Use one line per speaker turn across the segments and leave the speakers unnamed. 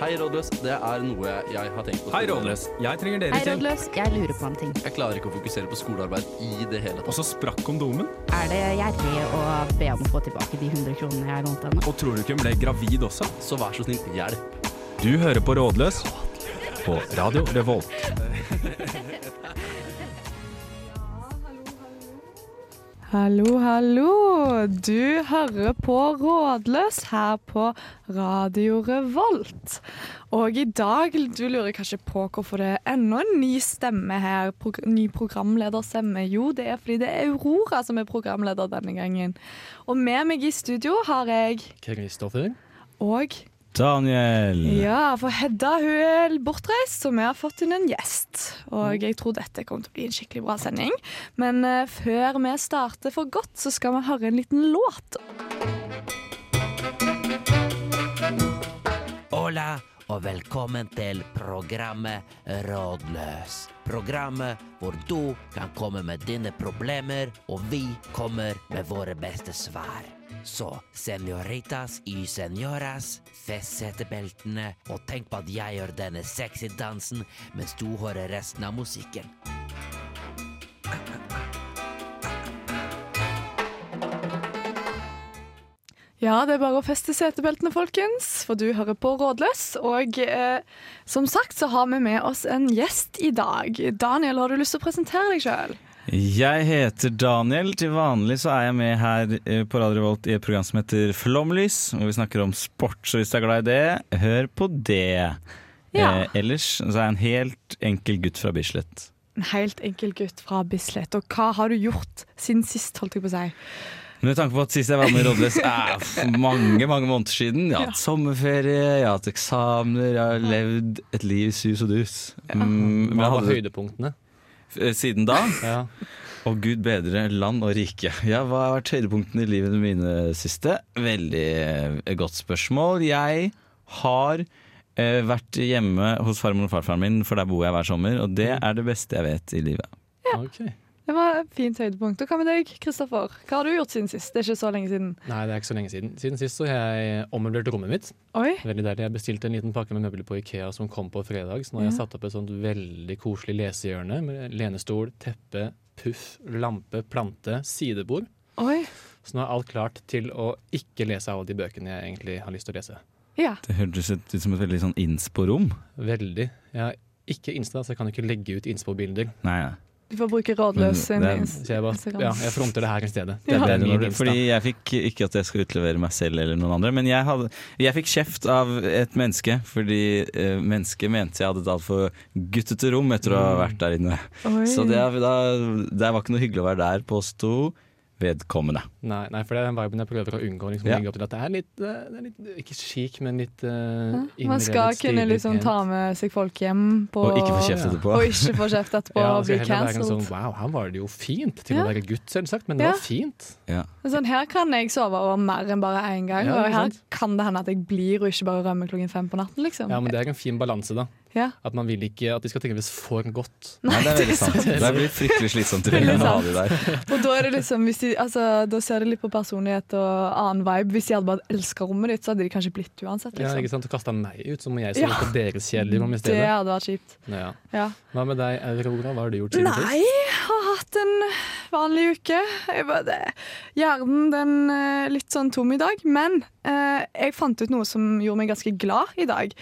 Hei, rådløs. Det er noe jeg har tenkt på.
Hei, Rådløs. Jeg trenger
Hei,
deres hjelp.
rådløs. Jeg lurer på en ting.
Jeg klarer ikke å fokusere på skolearbeid i det hele
Og
tatt.
så sprakk kondomen.
Er det gjerrig å be om å få tilbake de 100 kronene jeg lånte henne?
Og tror du ikke hun ble gravid også?
Så vær så snill, hjelp.
Du hører på Rådløs på Radio Revolt.
Hallo, hallo! Du hører på Rådløs her på Radio Revolt. Og i dag, du lurer kanskje på hvorfor det er enda en ny stemme her. Prog ny programlederstemme. Jo, det er fordi det er Aurora som er programleder denne gangen. Og med meg i studio har jeg
Kristoffer.
og
Daniel.
Ja, for Hedda hun er bortreist, så vi har fått inn en gjest. Og jeg tror dette kommer til å bli en skikkelig bra sending. Men eh, før vi starter for godt, så skal vi høre en liten låt.
Hola og velkommen til programmet Rådløs. Programmet hvor du kan komme med dine problemer, og vi kommer med våre beste svar. Så senoritas y senoras, fest setebeltene, og tenk på at jeg gjør denne sexy dansen mens du hører resten av musikken.
Ja, det er bare å feste setebeltene, folkens, for du hører på Rådløs. Og eh, som sagt så har vi med oss en gjest i dag. Daniel, har du lyst til å presentere deg sjøl?
Jeg heter Daniel. Til vanlig så er jeg med her eh, på Radio Revolt i et program som heter Flomlys, hvor vi snakker om sport. Så hvis du er glad i det, hør på det.
Ja.
Eh, ellers så er jeg en helt enkel gutt fra Bislett.
En helt enkel gutt fra Bislett. Og hva har du gjort siden sist, holdt jeg på å si?
Men med tanke på at sist jeg var med i Rådløs er for mange mange måneder siden. Jeg har hatt sommerferie, jeg har hatt eksamener, jeg har levd et liv i sus og dus. Mm, men
Hva
jeg
var
hadde,
høydepunktene?
eh, siden da
Ja.
Og gud bedre land og rike. Ja, hva har vært høydepunktene i livet mine siste? Veldig eh, godt spørsmål. Jeg har eh, vært hjemme hos farmor og farfaren min, for der bor jeg hver sommer. Og det
Mm.
er det beste jeg vet i livet.
Ok.
Det var et fint høydepunkt. Og hva med deg, Kristoffer? Hva har du gjort siden sist? Det er ikke så lenge siden.
Nei, det er ikke så lenge siden. Siden sist så har jeg ommøblert rommet mitt.
Oi.
Veldig deilig. Jeg bestilte en liten pakke med møbler på Ikea som kom på fredag. Så nå har
Ja.
jeg satt opp et sånt veldig koselig lesehjørne med lenestol, teppe, puff, lampe, plante, sidebord.
Oi.
Så nå er alt klart til å ikke lese alle de bøkene jeg egentlig har lyst til å lese.
Ja.
Det hørtes ut ut som et veldig sånn innspo-rom.
Veldig. Jeg har ikke Insta, så jeg kan ikke legge ut Innspo-bilder.
Nei, nei.
Du får bruke rådløs
Men
sin
det er-
ins-
Så jeg bare,
Instagram.
ja, jeg fronter det her i stedet.
Det er
Det er
bedre
min
når du,
Insta.
fordi jeg fikk ikke at jeg skal utlevere meg selv eller noen andre, men jeg, hadde, jeg fikk kjeft av et menneske, fordi eh, mennesket mente jeg hadde et altfor guttete rom etter å ha
Mm.
vært der inne.
Oi.
Så det, er- da, det var ikke noe hyggelig å være der, påsto vedkommende.
Nei, nei, for det er den viben jeg prøver å unngå. Liksom,
Ja.
legge opp til at det er litt, eh, det er litt ikke chic, men litt uh,
Ja, Man skal kunne liksom ta med seg folk hjem på
Og ikke få kjeft
Ja.
etterpå.
Og ikke få kjeft etterpå
ja,
og bli
det skal heller være en
cancelled.
sånn, Wow, her var det jo fint. Til å
Ja.
være gutt, selvsagt, men det
Ja.
var fint.
Ja.
Men Sånn, her kan jeg sove over mer enn bare én gang,
Ja,
og
ikke
her
sant?
kan det hende at jeg blir og ikke bare rømmer klokken fem på natten, liksom.
Ja, men det er en fin balanse, da.
Ja.
At man vil ikke at de skal trives for godt.
Nei, det er veldig sant. Det blir fryktelig slitsomt å
Veldig
ha
sant.
de der.
Og da er det liksom hvis de, altså, Da ser det litt på personlighet og annen vibe. Hvis de hadde bare elska rommet ditt, så hadde de kanskje blitt uansett,
Ja,
liksom.
ikke sant? Og kasta meg ut, så må jeg
Ja.
sove på deres kjedelige rom i
det
stedet.
hadde vært kjipt.
Ja.
Ja.
Hva med deg, Aurora? Hva har du gjort siden
Nei,
sist?
jeg har hatt en vanlig uke. Jeg bare, det, hjernen den er litt sånn tom i dag, men eh, jeg fant ut noe som gjorde meg ganske glad i dag.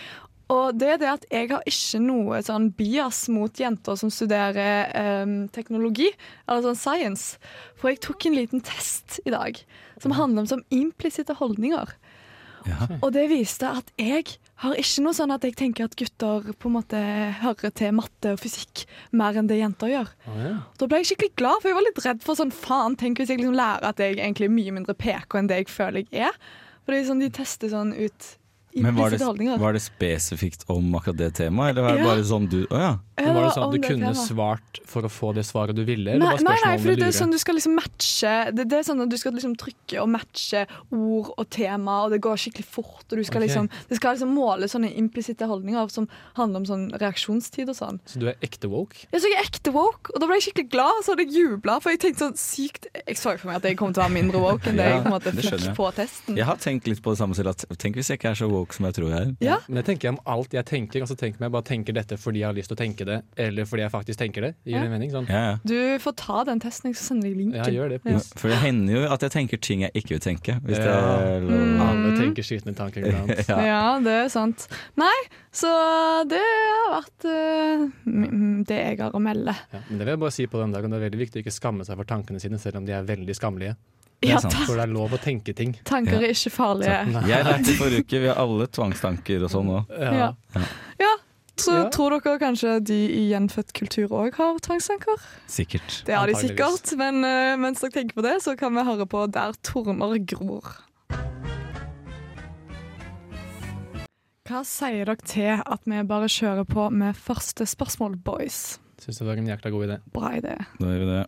Og det er det at jeg har ikke noe sånn bias mot jenter som studerer eh, teknologi, eller sånn science. For jeg tok en liten test i dag som handler om sånn implisitte holdninger.
Ja.
Og det viste at jeg har ikke noe sånn at jeg tenker at gutter på en måte hører til matte og fysikk mer enn det jenter gjør.
Å, ja.
Da ble jeg skikkelig glad, for jeg var litt redd for sånn faen, tenk hvis jeg liksom lærer at jeg egentlig er mye mindre PK enn det jeg føler jeg er. For det er sånn, de tester sånn ut
Men var det,
implisitte holdninger.
var det spesifikt om akkurat det temaet, eller var det
Ja.
bare sånn du Å ja.
Ja, det
Men var det
var
sånn at
om
du
det
kunne
temaet.
svart for å få det svaret du ville?
Nei,
Eller
nei,
var
nei
spørsmålet
for det
lure?
er sånn du skal liksom matche Det, det er sånn at du skal liksom trykke og matche ord og tema, og det går skikkelig fort. Og du skal
Ok.
liksom, det skal liksom måle sånne implisitte holdninger som handler om sånn reaksjonstid og sånn.
Så du er ekte woke?
Jeg så ikke ekte woke, og da ble jeg skikkelig glad. Så hadde jeg jubla, for jeg tenkte sånn sykt Jeg så for meg at jeg kom til å være mindre woke enn det
Ja,
jeg på en måte
det skjønner
fikk
jeg.
på testen.
Jeg har tenkt litt på det samme selv, at tenk hvis jeg ikke er så woke som jeg tror jeg er.
Ja.
Men jeg tenker om alt jeg tenker, altså tenker meg, bare tenker dette fordi jeg har lyst til å tenke det, eller fordi jeg faktisk tenker det. Gir
Ja.
det mening? Sånn.
Ja, ja.
Du får ta den testen, jeg skal sende deg linken.
Ja, gjør det.
Ja.
please.
For det hender jo at jeg tenker ting jeg ikke vil tenke. Hvis det
Ja.
er
Mm.
lov.
Alle tenker skitne tanker iblant.
Ja.
Ja, det er sant. Nei, så det har vært eh, m- det jeg har å melde.
Ja, men det vil jeg bare si på den dagen, det er veldig viktig å ikke skamme seg for tankene sine, selv om de er veldig skammelige.
er
Ja,
sant.
ta
For det er lov å tenke ting.
tanker er ikke farlige.
Jeg lærte forrige uke, vi har alle tvangstanker og sånn nå.
Ja. ja. Så
Ja.
tror dere kanskje de i gjenfødt kultur òg har tvangstanker?
Sikkert.
Det har de
Antageligvis.
sikkert, men eh, mens dere tenker på det, så kan vi høre på Der torner gror. Hva sier dere til at vi bare kjører på med første spørsmål, boys?
Syns det var en jækla god idé.
Bra idé.
Da gjør vi det.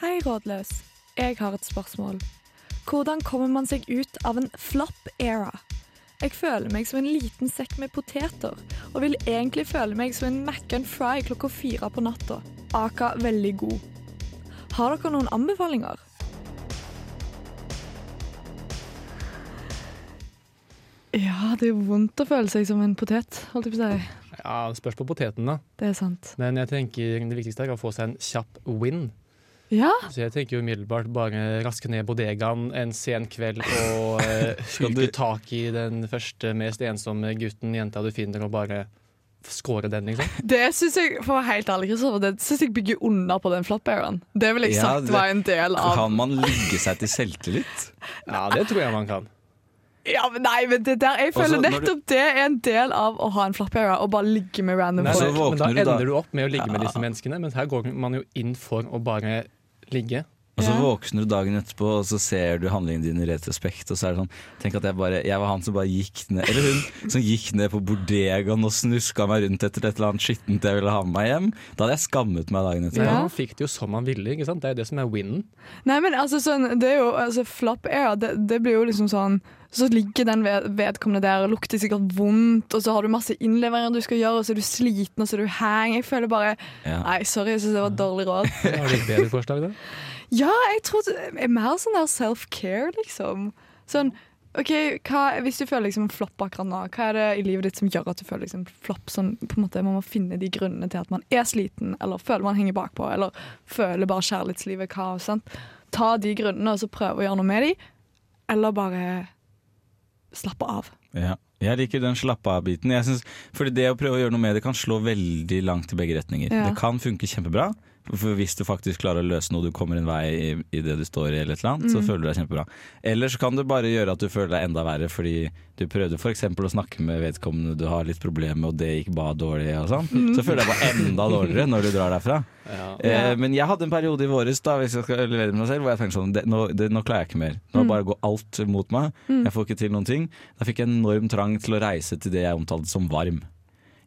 Hei, rådløs. Jeg har et spørsmål. Hvordan kommer man seg ut av en flop era? Jeg føler meg som en liten sekk med poteter, og vil egentlig føle meg som en mac and fry klokka fire på natta. Aka veldig god. Har dere noen anbefalinger? Ja, det er vondt å føle seg som en potet, holdt jeg på å si.
Ja, det spørs på poteten, da.
Det er sant.
Men jeg tenker det viktigste er å få seg en kjapp win.
Ja,
Så jeg tenker jo umiddelbart bare raske ned bodegaen en sen kveld og eh,
Skal du-
huke tak i den første mest ensomme gutten, jenta du finner, og bare score den, liksom.
Det syns jeg for å være helt ærlig, Kristoffer, det synes jeg bygger under på den flop-eraen. Det vil jeg
Ja,
sagt
det-
var en del av
Kan man ligge seg til selvtillit?
Ja, det tror jeg man kan.
Ja, men Nei, men det der, jeg føler
Også når du-
nettopp det er en del av å ha en flop-era. Å bare ligge med random
Nei,
så
folk.
men da
våkner du da-
ender du opp med å ligge med disse menneskene, men her går man jo inn for å bare ligge.
Og så
Ja.
våkner du dagen etterpå, og så ser du handlingen din i retrospekt, og så er det sånn Tenk at jeg bare Jeg var han som bare gikk ned Eller hun som gikk ned på bordegaen og snuska meg rundt etter et eller annet skittent jeg ville ha med meg hjem. Da hadde jeg skammet meg dagen etterpå.
Men
Ja.
Man fikk det jo som man ville, ikke sant? Det er det som er winnen.
Nei, men altså, sånn, det er jo altså, flop-era. Det, det blir jo liksom sånn så ligger den ved, vedkommende der og lukter sikkert vondt, og så har du masse innleveringer du skal gjøre, og så er du sliten, og så er du hang. Jeg føler bare
Ja.
Nei, sorry, jeg syns det var et dårlig råd.
Har du et bedre forslag, da?
Ja, jeg tror det er mer sånn der self-care, liksom. Sånn, ok, hva, Hvis du føler liksom flopp akkurat nå, hva er det i livet ditt som gjør at du føler liksom flopp? Sånn, på en måte, Man må finne de grunnene til at man er sliten, eller føler man henger bakpå, eller føler bare kjærlighetslivet kaos. Sant? Ta de grunnene og så prøve å gjøre noe med de, eller bare slappe av.
Ja. Jeg liker den slappe av-biten. Jeg synes- Fordi det å prøve å gjøre noe med det kan slå veldig langt i begge retninger.
Ja.
Det kan funke kjempebra, for hvis du faktisk klarer å løse noe, du kommer en vei i, i det du står i, eller et eller annet,
Mm.
så føler du deg kjempebra. Eller så kan det bare gjøre at du føler deg enda verre fordi du prøvde f.eks. å snakke med vedkommende du har litt problemer med, og det gikk bare dårlig og sånn. Så føler jeg bare enda dårligere når du drar derfra.
Ja.
Eh, men jeg hadde en periode i våres da, hvis jeg skal levere meg selv, hvor jeg tenkte sånn det, nå, det, nå klarer jeg ikke mer. Nå bare går alt mot meg. Jeg får ikke til noen ting. Da fikk jeg en enorm trang til å reise til det jeg omtalte som varm.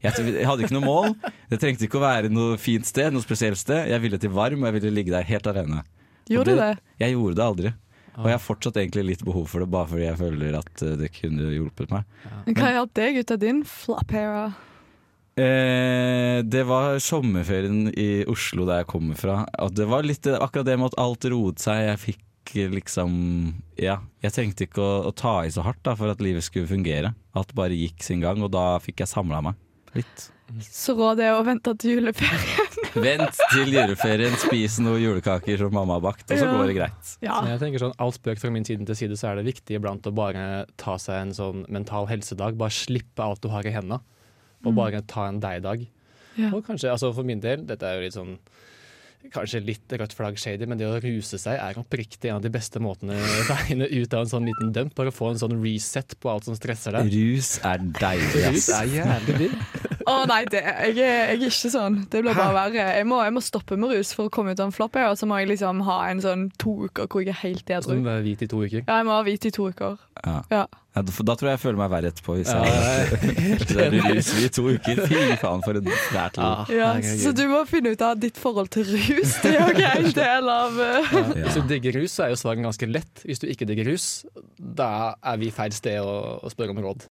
Jeg, t- jeg hadde ikke noe mål. Det trengte ikke å være noe fint sted, noe spesielt sted. Jeg ville til varm, og jeg ville ligge der helt alene.
Gjorde
Og
du det?
Jeg gjorde det aldri. Og jeg har fortsatt egentlig litt behov for det, bare fordi jeg føler at eh, det kunne hjulpet meg.
Hva hjalp deg ut av din flop-era?
Eh, det var sommerferien i Oslo der jeg kommer fra. At det var litt eh, akkurat det med at alt roet seg. Jeg fikk eh, liksom Ja. Jeg trengte ikke å, å ta i så hardt da, for at livet skulle fungere. Alt bare gikk sin gang, og da fikk jeg samla meg litt.
Så rådet er å vente til juleferie.
Vent til juleferien, spis noen julekaker som mamma har bakt, og så
Ja.
går det greit.
Ja.
Men Jeg tenker sånn, Alt spøk fra min side til side, så er det viktig iblant å bare ta seg en sånn mental helsedag. Bare slippe alt du har i hendene,
Mm.
og bare ta en deg-dag.
Ja.
Og kanskje, altså For min del, dette er jo litt sånn Kanskje litt rødt flagg-shady, men det å ruse seg er oppriktig en av de beste måtene å regne ut av en sånn liten dump. Bare få en sånn reset på alt som stresser deg.
Rus er deilig, ass.
Rus er jævlig digg.
Å nei, det, jeg, er, jeg er ikke sånn. Det blir bare verre. Jeg må, jeg må stoppe med rus for å komme ut av en flopp, og så må jeg liksom ha en sånn to uker hvor jeg er helt
Så må
Sånn
edru.
du være hvit i to uker.
Ja, jeg må ha hvit i to uker.
Ja.
Ja.
Ja, da da tror jeg jeg føler meg verre etterpå. Hvis jeg
Ja,
så er det rus i to uker. Fy faen, for et fælt liv.
Ja,
herregud.
så du må finne ut av ditt forhold til rus. Det er jo en del av eh,
Ja. Hvis du digger rus, så er jo svaret ganske lett. Hvis du ikke digger rus, da er vi feil sted å, å spørre om råd.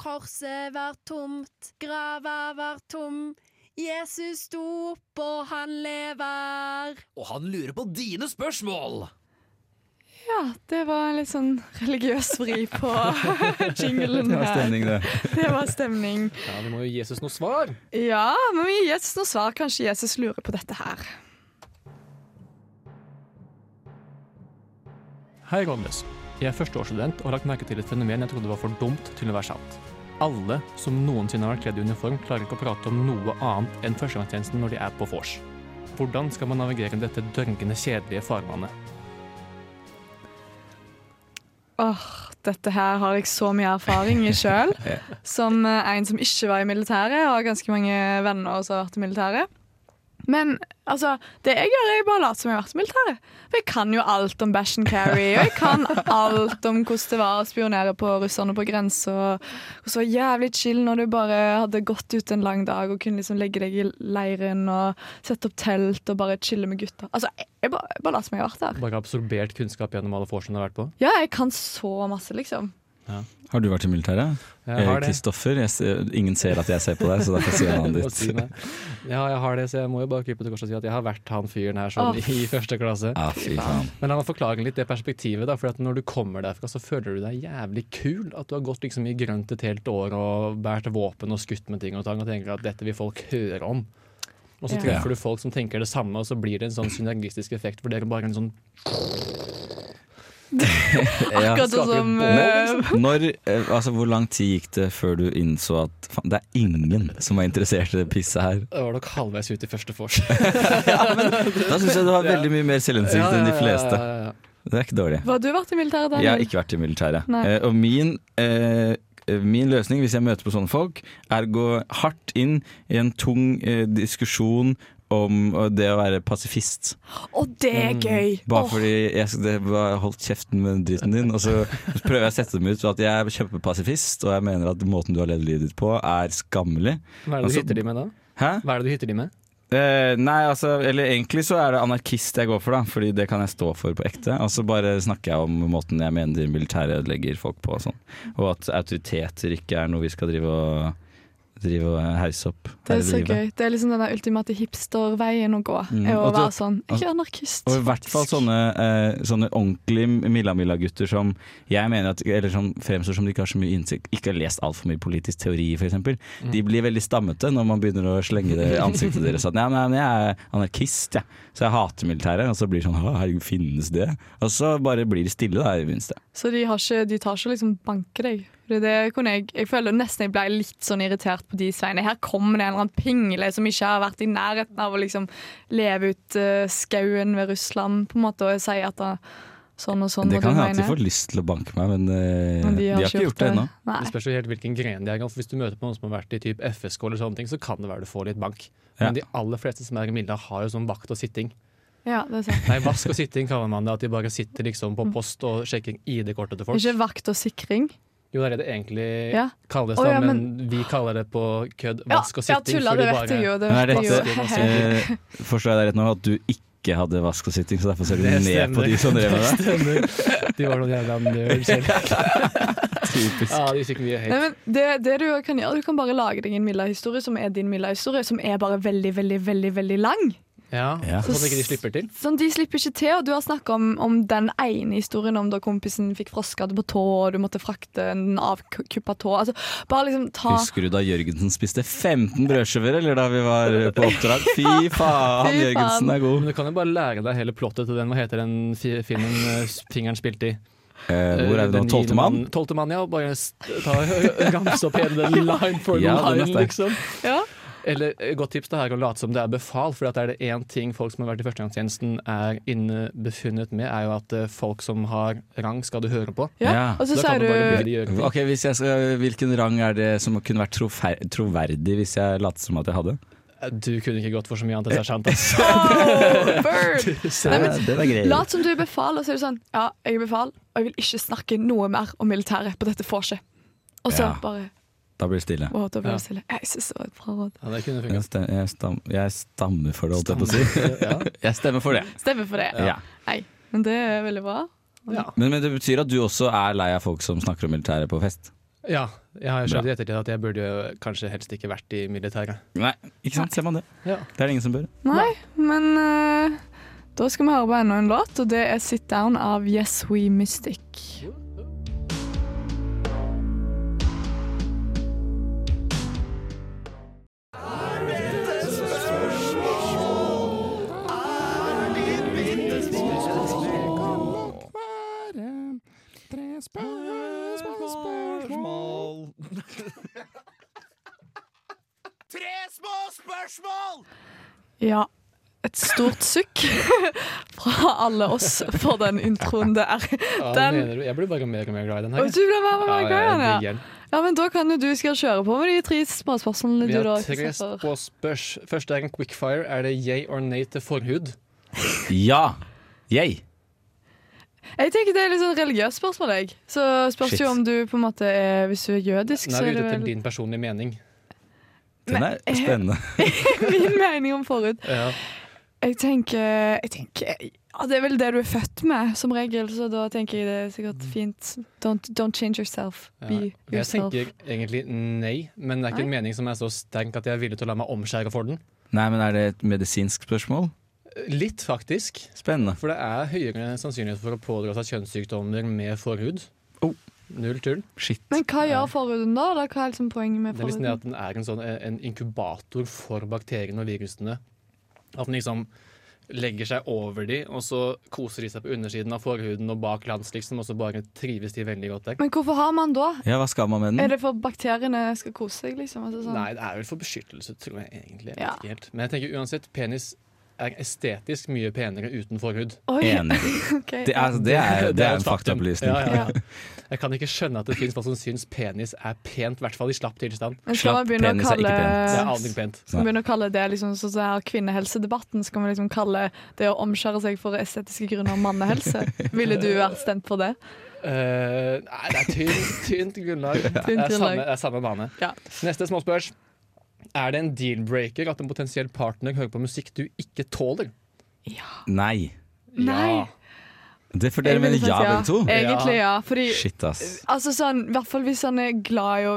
Korset var tomt, grava var tom. Jesus sto opp, og han lever.
Og han lurer på dine spørsmål!
Ja, det var en litt sånn religiøs vri på jinglen
Det var
her.
stemning, det.
Det var stemning.
Ja, Vi må jo gi Jesus noe svar.
Ja, men vi gir Jesus noe svar. Kanskje Jesus lurer på dette her.
Hei, Rådløs. Jeg er førsteårsstudent og har lagt merke til et fenomen jeg trodde var for dumt til å være sant. Alle som noensinne har vært kledd i uniform, klarer ikke å prate om noe annet enn førstegangstjenesten når de er på vors. Hvordan skal man navigere dette dørgende kjedelige farvannet?
Åh, dette her har jeg så mye erfaring i sjøl. Som eh, en som ikke var i militæret, og har ganske mange venner som har vært i militæret. Men altså, det jeg gjør, er jeg bare later som jeg har vært i militæret. For jeg kan jo alt om Bash and Carry, og jeg kan alt om hvordan det var å spionere på russerne på grensa. Og så var det jævlig chill når du bare hadde gått ut en lang dag og kunne liksom legge deg i leiren og sette opp telt og bare chille med gutta. Altså, jeg, jeg bare, jeg bare later som jeg har vært der.
Bare absorbert kunnskap gjennom alle vorsene du har vært på?
Ja, jeg kan så masse, liksom.
Har du vært i militæret?
Jeg har
Eh,
det.
Kristoffer, jeg ser- ingen ser at jeg ser på deg, så derfor sier jeg navnet
Hva sier
ditt.
meg? Ja, jeg har det, så jeg må jo bare krype til korset og si at jeg har vært han fyren her sånn
Åh.
i første klasse.
Ja, fy faen.
Men la meg forklare litt det perspektivet, da, for at når du kommer derfra, så føler du deg jævlig kul. At du har gått liksom i grønt et helt år og båret våpen og skutt med ting og tang og tenker at dette vil folk høre om. Og så
Ja.
treffer du folk som tenker det samme, og så blir det en sånn synergistisk effekt hvor dere bare er en sånn
Ja.
Akkurat sånn
skaper
som
en
eh,
Når, eh, altså, hvor lang tid gikk det før du innså at faen, det er ingen som er interessert i det pisset her?
Da var dere halvveis ut i første vors.
Da syns jeg du har veldig mye mer selvinnsikt enn de fleste.
ja, ja.
Det er ikke dårlig.
Hva har du vært i militæret, Daniel?
Jeg har ikke vært i militæret.
Nei.
Eh, og min, eh, min løsning hvis jeg møter på sånne folk, er å gå hardt inn i en tung eh, diskusjon om eh, det å være pasifist.
Å, det er gøy!
Mm, Bare
Åh,
fordi jeg s- det var- holdt kjeften med dritten din, og så prøver jeg å sette dem ut. At jeg er kjempepasifist, og jeg mener at måten du har levd livet ditt på, er skammelig.
Hva er det du
Altså-
hytter de med da?
Hæ?
Hva er det du hytter de med?
Eh, nei, altså, eller egentlig så er det anarkist jeg går for, da. Fordi det kan jeg stå for på ekte. Og så bare snakker jeg om måten jeg mener de militære ødelegger folk på og sånn. Og at autoriteter ikke er noe vi skal drive og, drive og hause opp.
det
her i
er så
livet.
gøy. Det er liksom den der ultimate hipsterveien å gå.
Mm.
Er å
Og så-
være sånn Jeg er ikke anarkist.
Og i hvert fall
faktisk.
sånne, eh, sånne ordentlige Milla-Milla-gutter som jeg mener at, eller som fremstår som de ikke har så mye innsikt, ikke har lest altfor mye politisk teori f.eks. De blir veldig stammete når man begynner å slenge det i ansiktet deres at nei, nei, men jeg er anarkist, jeg. Så jeg hater militæret. Og så blir det sånn «Å, herregud, finnes det? Og så bare blir det stille, da, i det minste.
Så de, har ikke, de tar ikke liksom banke deg. Fordi det kunne jeg, jeg føler nesten jeg ble litt sånn irritert på de sveiene. Her kommer det en eller annen pingle som ikke har vært i nærheten av å liksom leve ut eh, skauen ved Russland, på en måte, og si at da, sånn og sånn.
Det
og
kan
du
hende at de
mener.
får lyst til å banke meg, men, eh,
Men
de, har ikke gjort det ennå.
Nei.
Det spørs jo helt hvilken gren de er. i. For Hvis du møter på noen som har vært i typ FSK, eller sånne ting, så kan det være du får litt bank. Men
Ja.
de aller fleste som er i Milda, har jo sånn vakt og sitting.
Ja, det er sant.
Nei, vask og sitting kaller man det. At de bare sitter liksom på post og sjekker ID-kortet til folk.
Mm. Ikke vakt og sikring.
Jo, det er det det egentlig
Ja.
kalles,
Å,
da,
ja,
men, vi kaller det på kødd vask og
ja,
sitting.
tulla,
fordi
det
bare-
vet jeg jo. Det
Men er
vet
dette,
jeg jo.
eh, forstår jeg deg rett nå, at du ikke hadde vask og sitting, så derfor ser du
Det
ned på
stemmer.
de som drev med det?
Stemmer. De var noen jævla nerd selv.
Typisk.
Ja, de fikk
Nei,
mye hate.
men det, det du kan gjøre, du kan bare lage deg en Milla-historie som er din Milla-historie, som er bare veldig, veldig, veldig veldig lang.
Ja,
Ja.
Sånn at ikke de slipper til.
Sånn, De slipper ikke til, og du har snakka om, om den ene historien om da kompisen fikk frostskade på tå, og du måtte frakte en avkuppa tå. Altså, bare liksom ta
Husker du da Jørgensen spiste 15 brødskiver, eller da vi var på oppdrag? Fy faen,
faen.
Jørgensen er god.
Men du kan jo bare lære deg hele plottet til den, hva heter den fi- filmen eh, fingeren spilte i?
Eh, hvor er vi nå?
Den
Tolvte mann?
niende Tolvte mann, ja. og Bare s- ta, ramse opp hele den line for
Ja, den er
line,
sterk.
liksom.
Ja.
Eller et godt tips det er å late som det er befal, for at er det én ting folk som har vært i førstegangstjenesten er innebefunnet med, er jo at eh, folk som har rang, skal du høre på.
ja.
Ja,
Og så
da kan
sier
du bare be
du
de gjøre ting.
Ok, hvis jeg skal, Hvilken rang er det som kunne vært trofer- troverdig hvis jeg lot som at jeg hadde?
Eh, Du kunne ikke gått for så mye annet enn sersjant. ass.
«Åh, Bird! Nei, men-
den er grei.
Lat som du er befal, og så er du sånn Ja, jeg er befal, og jeg vil ikke snakke noe mer om militæret på dette vorset. Og så
Ja.
bare
Da blir det stille.
Å, da blir
Ja.
det stille. Jeg syns det var et bra råd.
Ja, det kunne
Jeg,
funket.
stem, jeg, stam, jeg stammer for det, holdt jeg på å si.
Ja.
Jeg stemmer for det.
Stemmer for det.
Ja.
Nei, men det er veldig bra.
Ja.
Men, men det betyr at du også er lei av folk som snakker om militæret på fest?
ja, jeg har skjønt i ettertid at jeg burde jo kanskje helst ikke vært i militæret.
Nei, ikke sant? Ser man det?
Ja.
Det er det ingen som bør.
Nei, men eh, Da skal vi høre på enda en låt, og det er Sit Down av Yes We Mystic.
Spørsmål.
Ja. Et stort sukk fra alle oss for den introen der. Den-
mener du? Jeg blir bare mer og mer glad i den
Og
her.
du ble med på den
jeg. Ja, jeg
gangen, ja.
digger den.
ja, men da kan jo du skal kjøre på med de tre småspørsmålene
Vi
du da
har tre
Kristoffer.
spørs. Første er en quickfire. Er det yay or nay til forhud?
Ja. Jeg.
Jeg tenker det er litt sånn religiøst spørsmål, jeg. Så spørs
Shit.
jo om du på en måte er Hvis du er jødisk,
Nå
så
er vi
er det
ute etter
vel
din personlige mening.
Den er spennende.
min mening om forhud.
Ja.
Jeg tenker, jeg tenker ja, Det er vel det du er født med, som regel, så da tenker jeg det er sikkert fint. Don't, don't change yourself. Be
Jeg
yourself.
tenker egentlig nei, men det er ikke en mening som er så sterk at jeg er villig til å la meg omskjære for den.
Nei, men er det et medisinsk spørsmål?
Litt, faktisk.
Spennende.
For det er høyere sannsynlighet for å pådra seg kjønnssykdommer med forhud.
Oh.
Null tull.
Shit.
Men hva gjør forhuden da? Eller hva er liksom poenget med
Det er liksom det
forhuden?
at den er en, sånn, en inkubator for bakteriene og virusene. At den liksom legger seg over de, og så koser de seg på undersiden av forhuden og bak lands, liksom, og så bare trives de veldig godt der.
Men hvorfor har man da?
Ja, hva skal man med
Er
den?
det for bakteriene skal kose seg, liksom? Altså, sånn.
Nei, det er vel for beskyttelse, tror jeg egentlig. Jeg vet
Ja.
ikke helt. Men jeg tenker uansett, penis er estetisk mye penere uten forhud.
Oi,
Enig.
ok.
Det er, det er, det er
et
en
faktum.
faktaopplysning.
Ja, ja,
Ja.
ja. Jeg kan ikke skjønne at det fins folk som syns penis er pent, i hvert fall i slapp tilstand.
Men skal man
slapp
begynne å
penis er ikke
kalle
Det er aldri pent.
skal man begynne å kalle det liksom sånn som her kvinnehelsedebatten? Skal man liksom kalle det å omskjære seg for estetiske grunner mannehelse? Ville du vært stemt på det?
Eh, nei, det er tynt, tynt grunnlag. Det
grunnlag.
er samme, det er samme bane.
Ja.
Neste småspørs. Er det en deal-breaker at en potensiell partner hører på musikk du ikke tåler?
Nei.
Nei.
Det er for dere mener ja, begge to?
Egentlig ja. Fordi
Shit, ass.
Altså sånn, i hvert fall hvis han er glad i å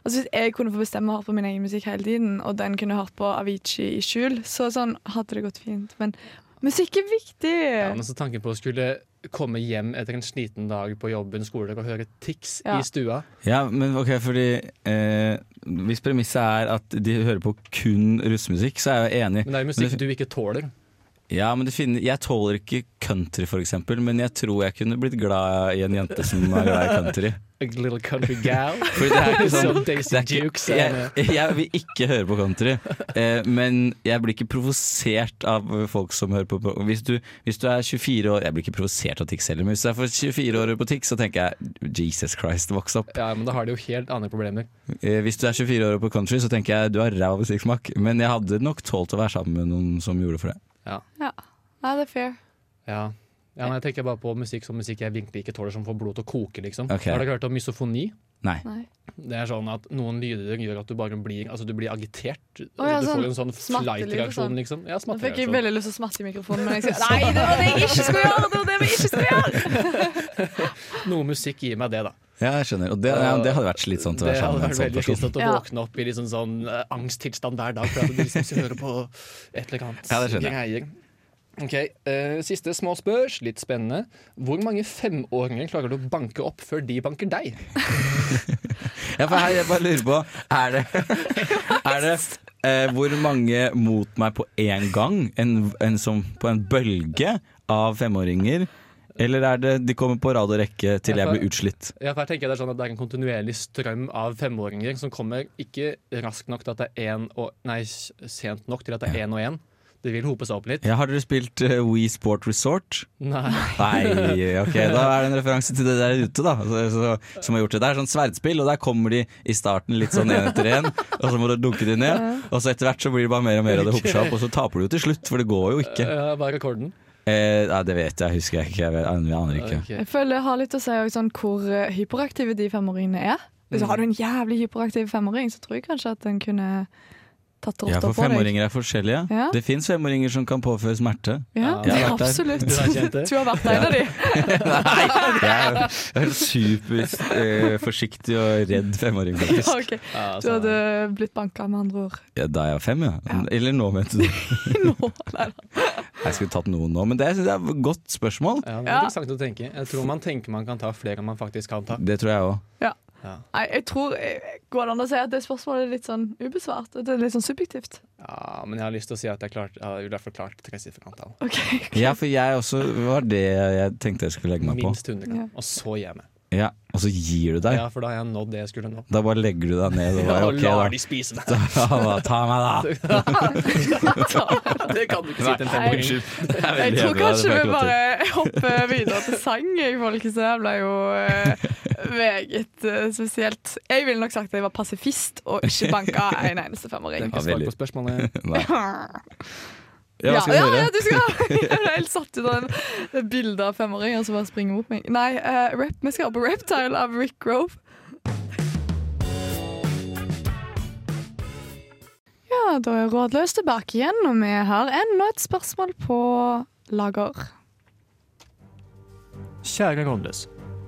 Altså Hvis jeg kunne få bestemme å høre på min egen musikk hele tiden, og den kunne hørt på Avicii i skjul, så sånn hadde det gått fint. Men musikk er viktig!
Ja, men så tanken på å skulle komme hjem etter en sliten dag på jobben, skoledag og høre Tix
Ja.
i stua
Ja, men ok, fordi eh, Hvis premisset er at de hører på kun russemusikk, så er jeg jo enig.
Men det er jo musikk du ikke tåler.
Ja, men det finner, Jeg tåler ikke country, for eksempel, men jeg tror jeg kunne blitt glad i en jente som er glad i country.
A little country gal.
Fordi det er ikke sånn
Som Daisy
det er ikke-
Dukes.
jeg, jeg vil ikke høre på country, eh, men jeg blir ikke provosert av folk som hører på Hvis du, hvis du er 24 år Jeg blir ikke provosert av Tix heller, men hvis du er for 24 år og hører på Tix, så tenker jeg Jesus Christ, voks opp.
Ja, men da har de jo helt andre problemer.
Eh, hvis du er 24 år og på country, så tenker jeg du har ræv musikksmak, men jeg hadde nok tålt å være sammen med noen som gjorde det for det.
Nei, det er fair.
Ja. ja, men Jeg tenker bare på musikk som musikk jeg virkelig ikke tåler, som får blodet til å koke, liksom.
Ok.
Har dere hørt om misofoni?
Nei.
Nei.
Det er sånn at Noen lyder gjør at du bare blir Altså du blir agitert.
Å ja,
du
sånn
får en sånn
smattelyd og
flight-reaksjon,
sånn.
liksom. Ja,
Nå fikk jeg
smattereaksjon.
veldig lyst til å smatte i mikrofonen, men jeg sier nei, det var det jeg ikke skulle gjøre! Det var det vi ikke skulle gjøre!
Noe musikk gir meg det, da.
Ja, jeg skjønner. Og det, ja, det hadde vært slitsomt å
det
være sammen
hadde
med en
vært
sånn
veldig
person.
slitsomt å
Ja.
våkne opp i liksom sånn eh, angsttilstand hver dag for at du liksom hører på et eller annet
Ja, det skjønner
greier. Ok, eh, Siste små spørs, litt spennende. Hvor mange femåringer klarer du å banke opp før de banker deg?
Ja, for her, jeg bare lurer på Er det, er det eh, hvor mange mot meg på én gang? En, en som, på en bølge av femåringer? Eller er det de kommer på rad og rekke til jeg blir utslitt?
Ja, for jeg tenker Det er sånn at det er en kontinuerlig strøm av femåringer som kommer ikke raskt nok til at det er en og, Nei, sent nok til at det er én og én. Det vil hope seg opp litt.
Ja, har dere spilt eh, We Sport Resort?
Nei.
Nei, ok, da er det en referanse til det der ute, da. Så, så, som har gjort det. Det er sånn sverdspill, og der kommer de i starten litt sånn én etter én. Og så må du dunke de ned. Og så etter hvert så blir det bare mer og mer, og det hoper seg opp. Og så taper du jo til slutt, for det går jo ikke.
Eh, Hva er rekorden?
Eh, nei, det vet jeg, husker jeg ikke. Jeg, vet, jeg aner ikke.
Ok.
Jeg føler det har litt å si også sånn, hvor eh, hyperaktive de femåringene er. Hvis har du en jævlig hyperaktiv femåring, så tror jeg kanskje at den kunne tatt
Ja,
rotta
for
på deg.
femåringer er forskjellige.
Ja.
Det fins femåringer som kan påføre smerte.
Ja,
Jeg har vært der.
absolutt.
Du har kjent det?
Du har vært en av de.
Nei! Jeg er superforsiktig og redd femåring, faktisk.
Ok, Du hadde blitt banka, med andre ord.
Ja, da er jeg fem, ja.
Ja.
Eller nå, mente du.
Nå, nei, da.
Jeg skulle tatt noen nå, men det synes jeg er et godt spørsmål.
Ja, det er
Ja.
interessant å tenke. Jeg tror man tenker man kan ta flere enn man faktisk kan ta.
Det tror jeg òg.
Nei, jeg tror eh, Går det an å si at det spørsmålet er litt sånn ubesvart? At Det er litt sånn subjektivt.
Ja, men jeg har lyst til å si at jeg, klart, jeg har i hvert fall klart tresifrantall.
Ok,
Ja, for jeg også var det jeg tenkte jeg skulle legge meg på.
Minst 100.
Ja.
Og så gir jeg meg.
Ja, Og så gir du deg.
Ja, for da har jeg nådd det jeg skulle nå.
Da bare legger du deg ned og bare
og
OK,
lar
da.
de spise meg!
Ja, da, Ta meg, da!
Det kan du ikke si til en femåring.
Jeg tror kanskje vi bare hopper videre til sang, jeg, folkens. Det her ble jo eh, meget eh, spesielt. Jeg ville nok sagt at jeg var pasifist og ikke banka en eneste femåring.
Den kan
Ja,
svare
veldig.
på spørsmålet.
Nei. Ja,
Ja,
hva skal vi
ja, ja,
høre?
du skal Jeg ble helt satt ut av den- det bildet av femåringer som bare springer mot meg. Nei, eh, rap, vi skal høre på Reptile av Rick Grove. Ja, da er Rådløs tilbake igjen, og vi har enda et spørsmål på lager.
Kjære Rådløs.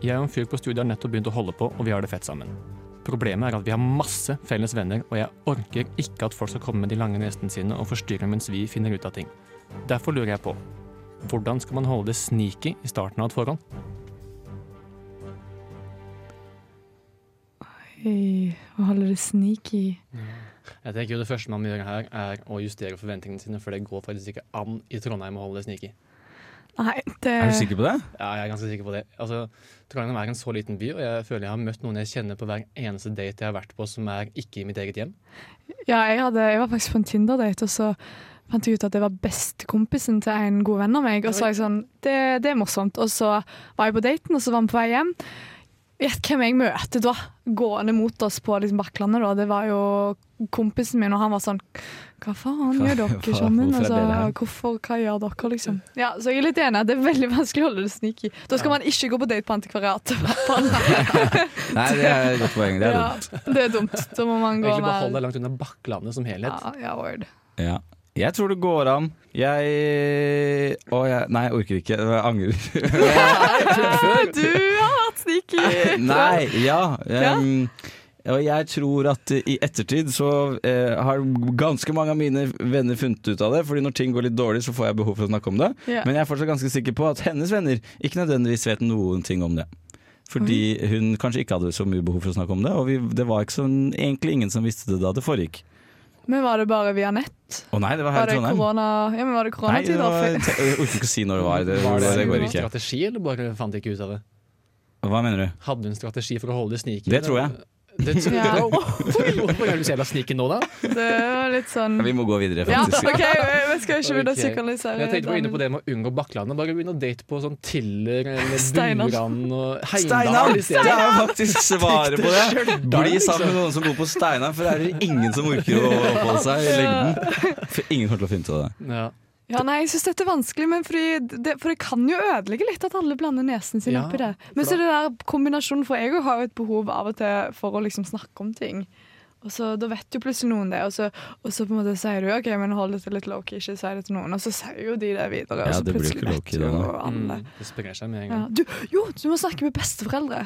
Jeg og en fyr på studiet har nettopp begynt å holde på, og vi har det fett sammen. Problemet er at vi har masse felles venner, og jeg orker ikke at folk skal komme med de lange nesene sine og forstyrre mens vi finner ut av ting. Derfor lurer jeg på, hvordan skal man holde det sneaky i starten av et forhold?
Hei, Eh, å holde det sneaky.
Jeg tenker jo Det første man må gjøre her, er å justere forventningene sine, for det går faktisk ikke an i Trondheim å holde det sneaky.
Nei,
Eh.
Er du
det
sikker på det?
Ja, jeg er ganske sikker på det. Altså, Trondheim er en så liten by, og jeg føler jeg har møtt noen jeg kjenner på hver eneste date jeg har vært på som er ikke i mitt eget hjem.
Ja, jeg, hadde, jeg var faktisk på en Tinder-date, og så fant jeg ut at det var bestekompisen til en god venn av meg. Og så var jeg sånn det, det er morsomt. Og så var jeg på daten, og så var vi på vei hjem. Gjett hvem jeg møter da, gående mot oss på liksom Bakklandet. da. Det var jo kompisen min, og han var sånn Hva faen gjør dere
Hva-
sammen?
hvorfor er
Altså,
dere her?»
hvorfor, hva gjør dere, liksom? Ja, Så jeg er litt enig, det er veldig vanskelig å holde det sneaky. Da skal man ikke gå på date på antikvariat.
Nei, det er et godt poeng. Det er
Ja,
dumt.
det er dumt. Da må man gå
Egentlig bare hold
med
deg langt unna Bakklandet som helhet.
ja, ja, word.
Ja. Jeg tror det går an. Jeg Å, jeg Nei, jeg orker ikke. Jeg angrer.
Du har vært sneaky!
Nei, ja.
Ja.
em, og jeg tror at eh, i ettertid så eh, har ganske mange av mine venner funnet ut av det. Fordi når ting går litt dårlig, så får jeg behov for å snakke om det.
Ja.
Men jeg er fortsatt ganske sikker på at hennes venner ikke nødvendigvis vet noen ting om det. Fordi hun kanskje ikke hadde så mye behov for å snakke om det. Og vi, det var ikke sånn, egentlig ingen som visste det da det foregikk.
Men var det bare via nett?
Å nei, det var
Var
her i
det
Trondheim.
korona... Ja, men var det
Nei, det
koronatider?
var,
For-
jeg orker ikke å si når det var. Det,
Var
det,
det,
det går
en
ikke.
strategi, eller bare fant de ikke ut av det?
Hva mener du?
Hadde hun strategi for å holde det sneaky?
Det tror jeg.
Det tror
Ja.
jeg. Hvorfor er du så jævla sneaky nå, da?
Det var litt sånn
Vi må gå videre,
Ja,
faktisk.
OK, vi skal ikke begynne å
Ok.
psykoanalysere.
Jeg tenkte på inne
den.
på det med å unngå Bakklandet. Bare begynne å date på sånn Tiller eller
Steinar.
Buran og
Steinar!
Heimdal. i
Det
stedet.
er faktisk svaret på det. Bli
liksom.
sammen med noen som bor på Steinar, for der er det ingen som orker å oppholde seg i lengden. For ingen kommer til å finne ut av det.
Ja.
Ja, nei, jeg syns dette er vanskelig, men fordi det, for det kan jo ødelegge litt at alle blander nesen sin
Ja,
oppi det. Men så er det der kombinasjonen, for jeg har jo et behov av og til for å liksom snakke om ting. Og så Da vet jo plutselig noen det, og så, og så på en måte sier du OK, men hold dette litt low-key, ikke si det til noen. Og så sier jo de det videre,
Ja,
og så
det blir jo
plutselig
ikke
vet
low-key da,
jo
da.
alle.
Mm, det sprer seg med en
Ja.
gang.
Du, jo, du må snakke med besteforeldre.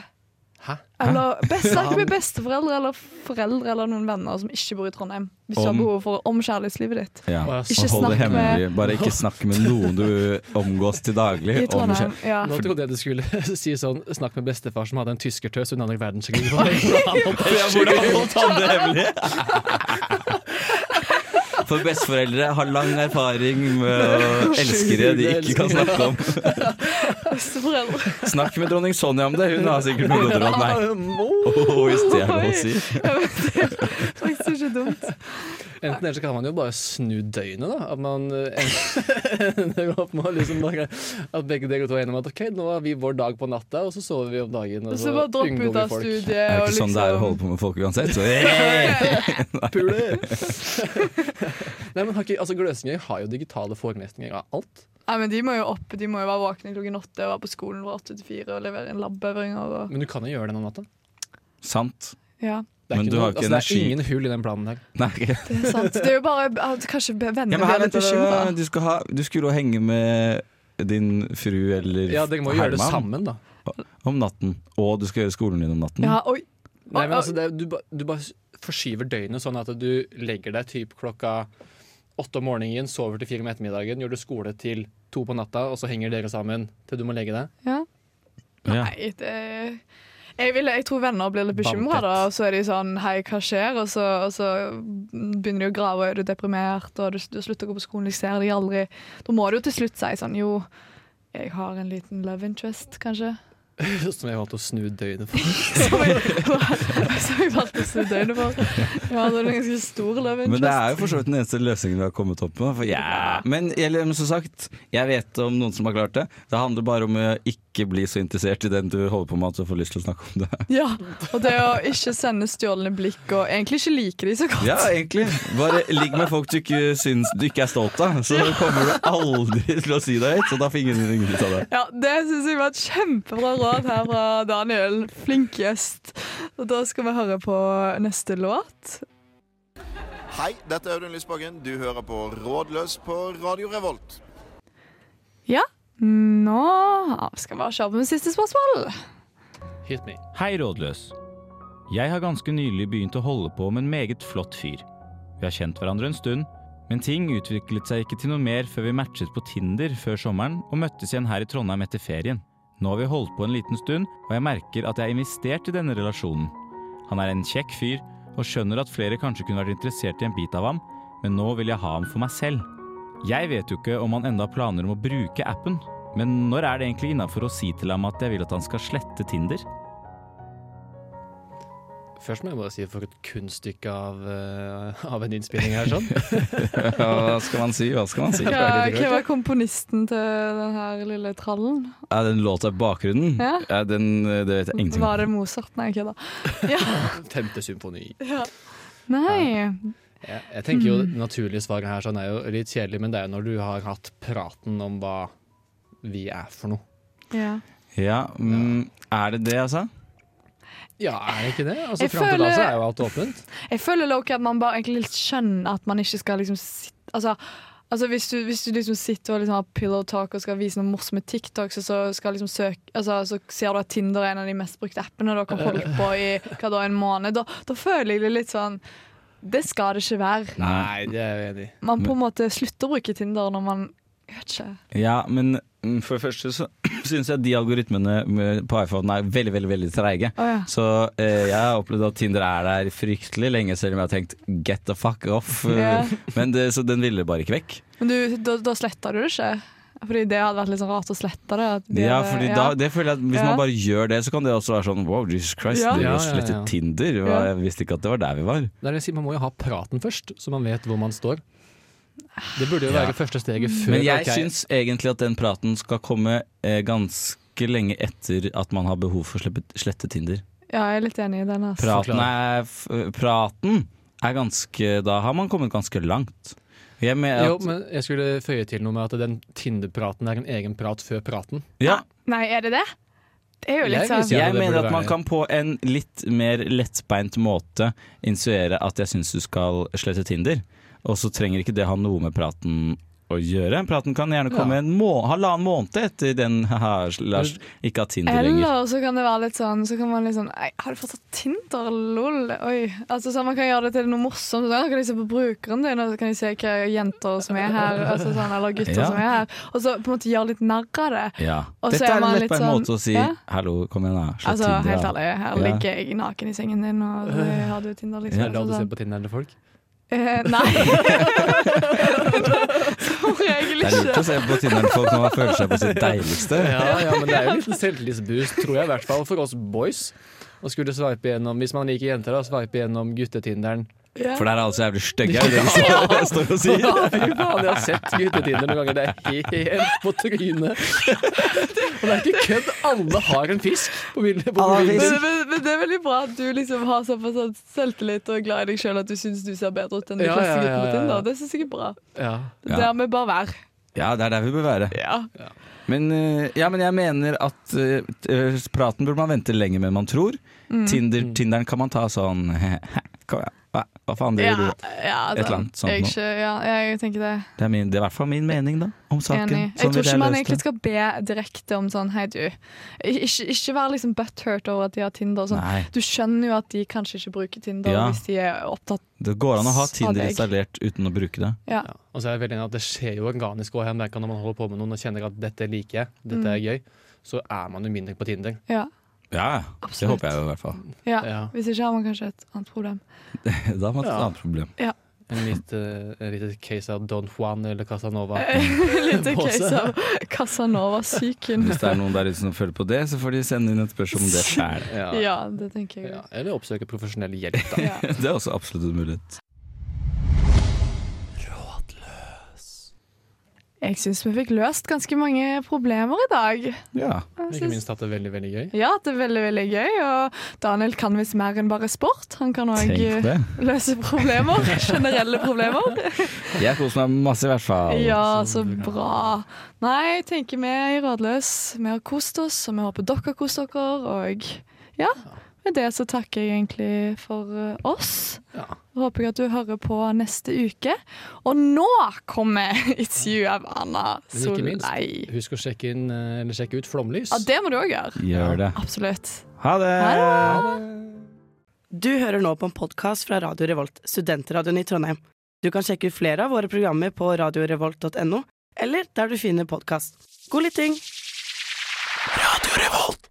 Hæ?
Eller best, snakke med besteforeldre eller foreldre eller noen venner som ikke bor i Trondheim. Hvis du har
Om-
behov for om kjærlighetslivet ditt.
Ja.
Å,
Og
jeg
Ikke
hold det
snakk med-
hemmelig. Bare ikke snakk med noen du omgås til daglig.
I
om
Trondheim.
kjær-
Ja.
Nå trodde jeg du skulle si sånn Snakk med bestefar som hadde en tyskertøs under andre verdenskrig. Hvordan
Hvordan holdt han det hemmelig? For besteforeldre har lang erfaring med å elskere de ikke kan snakke om.
Besteforeldre.
Snakk med dronning Sonja om det, hun har sikkert noe godt råd. Nei, oh, hvis det er lov å si.
Faktisk ikke dumt.
Enten eller så kan man jo bare snu døgnet, da. At man eh, ender opp med å liksom bare At begge dere to er enige om at OK, nå har vi vår dag på natta, og så sover vi om dagen. Og
Og så
så
bare droppe
unngår
ut
vi
av
folk.
Det
studiet
er jo
og
ikke sånn det er å holde
liksom
på med folk uansett. Så, hey!
Nei, men har ikke, altså Gløsingøy har jo digitale forelesninger av alt.
Nei, men De må jo opp, de må jo være våkne klokken åtte og være på skolen fra åtte til fire og levere inn labøvinger og
Men du kan jo gjøre det noen natta.
Sant.
Ja.
Det er,
Men
ikke
du
noe,
har ikke
altså, det er
energi.
ingen hull i den planen der.
Nei, ok.
Det er sant. Det er jo bare at kanskje
ja,
vennene
men her,
blir
vent,
litt bekymra.
du, skal ha, du skulle jo henge med din fru eller
Ja, Dere må jo gjøre det
Herman
sammen, da.
om natten. Og du skal gjøre skolen din om natten.
Ja, oi.
Nei, men altså, det, du, ba- du bare forskyver døgnet sånn at du legger deg typ klokka åtte om morgenen, sover til fire om ettermiddagen, gjør du skole til to på natta, og så henger dere sammen til du må legge deg.
Ja.
Ja.
Nei, det jeg, vil, jeg tror venner blir litt bekymra,
Banket.
da. Og så er de sånn 'hei, hva skjer?' Og så, og så begynner de å grave, og er du deprimert, og du, du slutter å gå på skolen, jeg ser de aldri. Da må du jo til slutt si sånn 'jo, jeg har en liten love interest', kanskje.
Som jeg valgte å snu døgnet for.
Som jeg, som jeg valgte å snu døgnet for. Jeg hadde en ganske stor love interest.
Men det er jo for så vidt den eneste løsningen vi har kommet opp med. For ja. Men eller, men som sagt, jeg vet om noen som har klart det. Det handler bare om å ikke bli så interessert i den du holder på med at du får lyst til å snakke om det.
Ja, og det å ikke sende stjålne blikk, og egentlig ikke like de så godt.
Ja, egentlig. Bare ligg med folk du ikke syns du ikke er stolt av, så kommer du aldri til å si deg høyt. Så da får ingen ingen ut av det.
Ja, Det syns jeg var et kjempebra råd her fra Daniel. Flink gjest. Og da skal vi høre på neste låt.
Hei, dette er Audun Lysbakken. Du hører på Rådløs på Radio Revolt.
Nå skal vi bare kjøre på med siste spørsmål.
Hit me.
Hei, rådløs. Jeg har ganske nylig begynt å holde på med en meget flott fyr. Vi har kjent hverandre en stund, men ting utviklet seg ikke til noe mer før vi matchet på Tinder før sommeren og møttes igjen her i Trondheim etter ferien. Nå har vi holdt på en liten stund, og jeg merker at jeg er investert i denne relasjonen. Han er en kjekk fyr, og skjønner at flere kanskje kunne vært interessert i en bit av ham, men nå vil jeg ha ham for meg selv. Jeg vet jo ikke om han enda har planer om å bruke appen, men når er det egentlig innafor å si til ham at jeg vil at han skal slette Tinder?
Først må jeg bare si for et kunststykke av, eh, av en innspilling her. sånn.
Ja, hva skal man si? Hva skal man si?
Ja, Hvem var komponisten til den her lille trallen?
Er den låta i bakgrunnen?
Ja.
Er den, det vet jeg ingenting om.
Var det Mozart? Nei, jeg kødder.
Femte symfoni.
Nei.
Jeg, jeg tenker jo Det naturlige svaret her sånn er jo litt kjedelig, men det er jo når du har hatt praten om hva vi er for noe.
Ja.
Ja, mm, er det det, altså?
Ja, er det ikke det? Altså,
Jeg
Fram til da så
føler-
er jo alt åpent.
Jeg føler Loki at man bare egentlig litt skjønner at man ikke skal liksom sitte Altså, altså hvis, du, hvis du liksom sitter og liksom har pillow talk og skal vise noen morsomme TikToks, og så skal liksom søke altså, Så ser du at Tinder er en av de mest brukte appene, og dere har holdt på i hva da, en måned. Da, da føler jeg det litt sånn Det skal det ikke være.
Nei.
det er jeg enig i.
Man på en måte slutter å bruke Tinder når man Jeg vet ikke.
Ja, men mm, for det første så syns jeg de algoritmene med- på iPhone er veldig, veldig veldig treige.
Å ja.
Så eh, jeg har opplevd at Tinder er der fryktelig lenge, selv om jeg har tenkt 'get the fuck off'.
Ja.
Men det, så den ville bare ikke vekk.
Men du, da, da sletter du det ikke? Fordi det hadde vært litt sånn rart å slette det. at vi
Ja,
hadde-
fordi
ja.
Da, det føler jeg at Hvis
Ja.
man bare gjør det, så kan det også være sånn 'wow, Jesus Christ,
Ja.
det
Ja,
å
ja,
slette
ja.
Tinder'. Hva, jeg visste ikke at det var der vi var.
Det er det jeg sier, Man må jo ha praten først, så man vet hvor man står. Det burde jo være første steget før.
Men jeg
ok,
syns egentlig at den praten skal komme eh, ganske lenge etter at man har behov for å slippe, slette Tinder.
ja, jeg er litt enig i den. Altså.
Praten er,
Forklar.
f praten er ganske Da har man kommet ganske langt. Jeg mener at,
Jo, men jeg skulle føye til noe med at den Tinder-praten er en egen prat før praten.
ja,
Nei, er det det? Det er jo litt
Jeg vil
sånn
si
jeg
det burde
mener at man
være-
kan på en litt mer lettbeint måte insinuere at jeg syns du skal slette Tinder, og så trenger ikke det ha noe med praten å gjøre. Praten kan gjerne komme
Ja.
en må halvannen måned etter den haha, Lars ikke har Tinder lenger.
Eller så kan det være litt sånn Så kan man liksom Ei, har du fortsatt Tinder? Lol. Oi. Altså sånn Man kan gjøre det til noe morsomt. Sånn, kan de se på brukeren din, og så kan de se hva jenter som er her, altså sånn, eller gutter
Ja.
som er her. Og så på en måte gjøre litt narr av det.
Ja.
Og så
Dette
er
er en
man litt
lettbeint
sånn-
måte å si
Ja.
'hallo, kom igjen, da'. Slett
Altså,
Tinder,
helt
da.
ærlig, her
Ja.
ligger jeg naken i sengen din, og så har du Tinder, liksom.
Øh. Det er da du
Altså,
ser
sånn.
på Tinder eller folk.
Eh, nei. Som regel
Det er lurt
ikke.
å se på Tinder-folk når man føler seg på sitt deiligste.
Ja, ja, men det er jo en liten selvtillitsboost, tror jeg, i hvert fall for oss boys. Å skulle sveipe gjennom, Hvis man liker jenter, da, sveipe gjennom guttetinderen.
Ja.
For der er alle så jævlig stygge, er det det de står- står og
Å,
sier?
Fy faen, jeg har sett guttetinderen noen ganger. Det er helt på trynet. Og det er ikke kødd. Alle har en fisk på bildet. På
Alle har
mobilen.
Men,
fisk.
men, men det er veldig bra at du liksom har såpass sånn selvtillit og er glad i deg sjøl at du syns du ser bedre ut enn de
Ja,
fleste
ja,
guttene
ja,
på
ja, ja.
Tinder. Det syns jeg er bra.
Ja.
Der vi bare være.
Ja, det er der vi bør være.
Ja.
Men, eh, ja, men jeg mener at eh, eh, praten burde man vente lenger enn man tror.
Mm.
Tinder, Tinderen kan man ta sånn Kom igjen, hva, hva faen driver
ja,
du med?
ja
Et eller annet sånt
jeg,
noe.
ikke, ja, jeg tenker det.
Det er, min, det er i hvert fall min mening, da, om saken.
Enig.
Sånn
Jeg tror
ville
ikke man
løst
egentlig
det.
skal be direkte om sånn hei, du. Ikke, ikke være liksom butthurt over at de har Tinder. og Sånn.
Nei,
Du skjønner jo at de kanskje ikke bruker Tinder
Ja.
hvis de er opptatt
det går an å ha
Sa
Tinder
deg.
installert uten å bruke det.
Ja. Og så er jeg veldig enig i at Det skjer jo organisk også. Jeg merker når man holder på med noen og kjenner at dette liker jeg, dette er gøy, så er man jo mindre på Tinder.
Ja,
Ja, det
absolutt.
håper jeg jo i hvert fall.
Ja.
Ja.
Hvis ikke har man kanskje et annet problem.
Da har man et
Ja.
annet problem.
En lite, en lite case av Don Juan eller Casanova.
Litt en
Båse.
case av Casanova-psyken.
Hvis det er noen der ute som føler på det, så får de sende inn et spørsmål om det sjæl.
Ja.
Ja, det tenker jeg.
Ja. Eller oppsøke profesjonell hjelp, da.
Ja.
Det er også absolutt en mulighet.
Jeg syns vi fikk løst ganske mange problemer i dag.
Ja.
Jeg
Ikke
synes-
minst at det er veldig, veldig gøy.
Ja, det er veldig, veldig gøy. Og Daniel kan visst mer enn bare sport. Han kan
Tenk
òg
det.
løse problemer. Generelle problemer.
Jeg koser meg masse, i hvert fall.
Ja, så bra. Nei, jeg tenker vi i Rådløs. Vi har kost oss, og vi håper dere har kost dere. Og ja, med det så takker jeg egentlig for eh, oss.
Ja.
Håper jeg at du hører på neste uke. Og nå kommer intervjuet av Anna
Men ikke minst,
Solveig.
Husk å sjekke, inn, eh, eller sjekke ut Flomlys.
Ja, det må du òg gjøre.
Gjør det.
Absolutt.
Ha det!
Ha det.
Du hører nå på en podkast fra Radio Revolt, studentradioen i Trondheim. Du kan sjekke ut flere av våre programmer på radiorevolt.no, eller der du finner podkast. God lytting! Radio Revolt!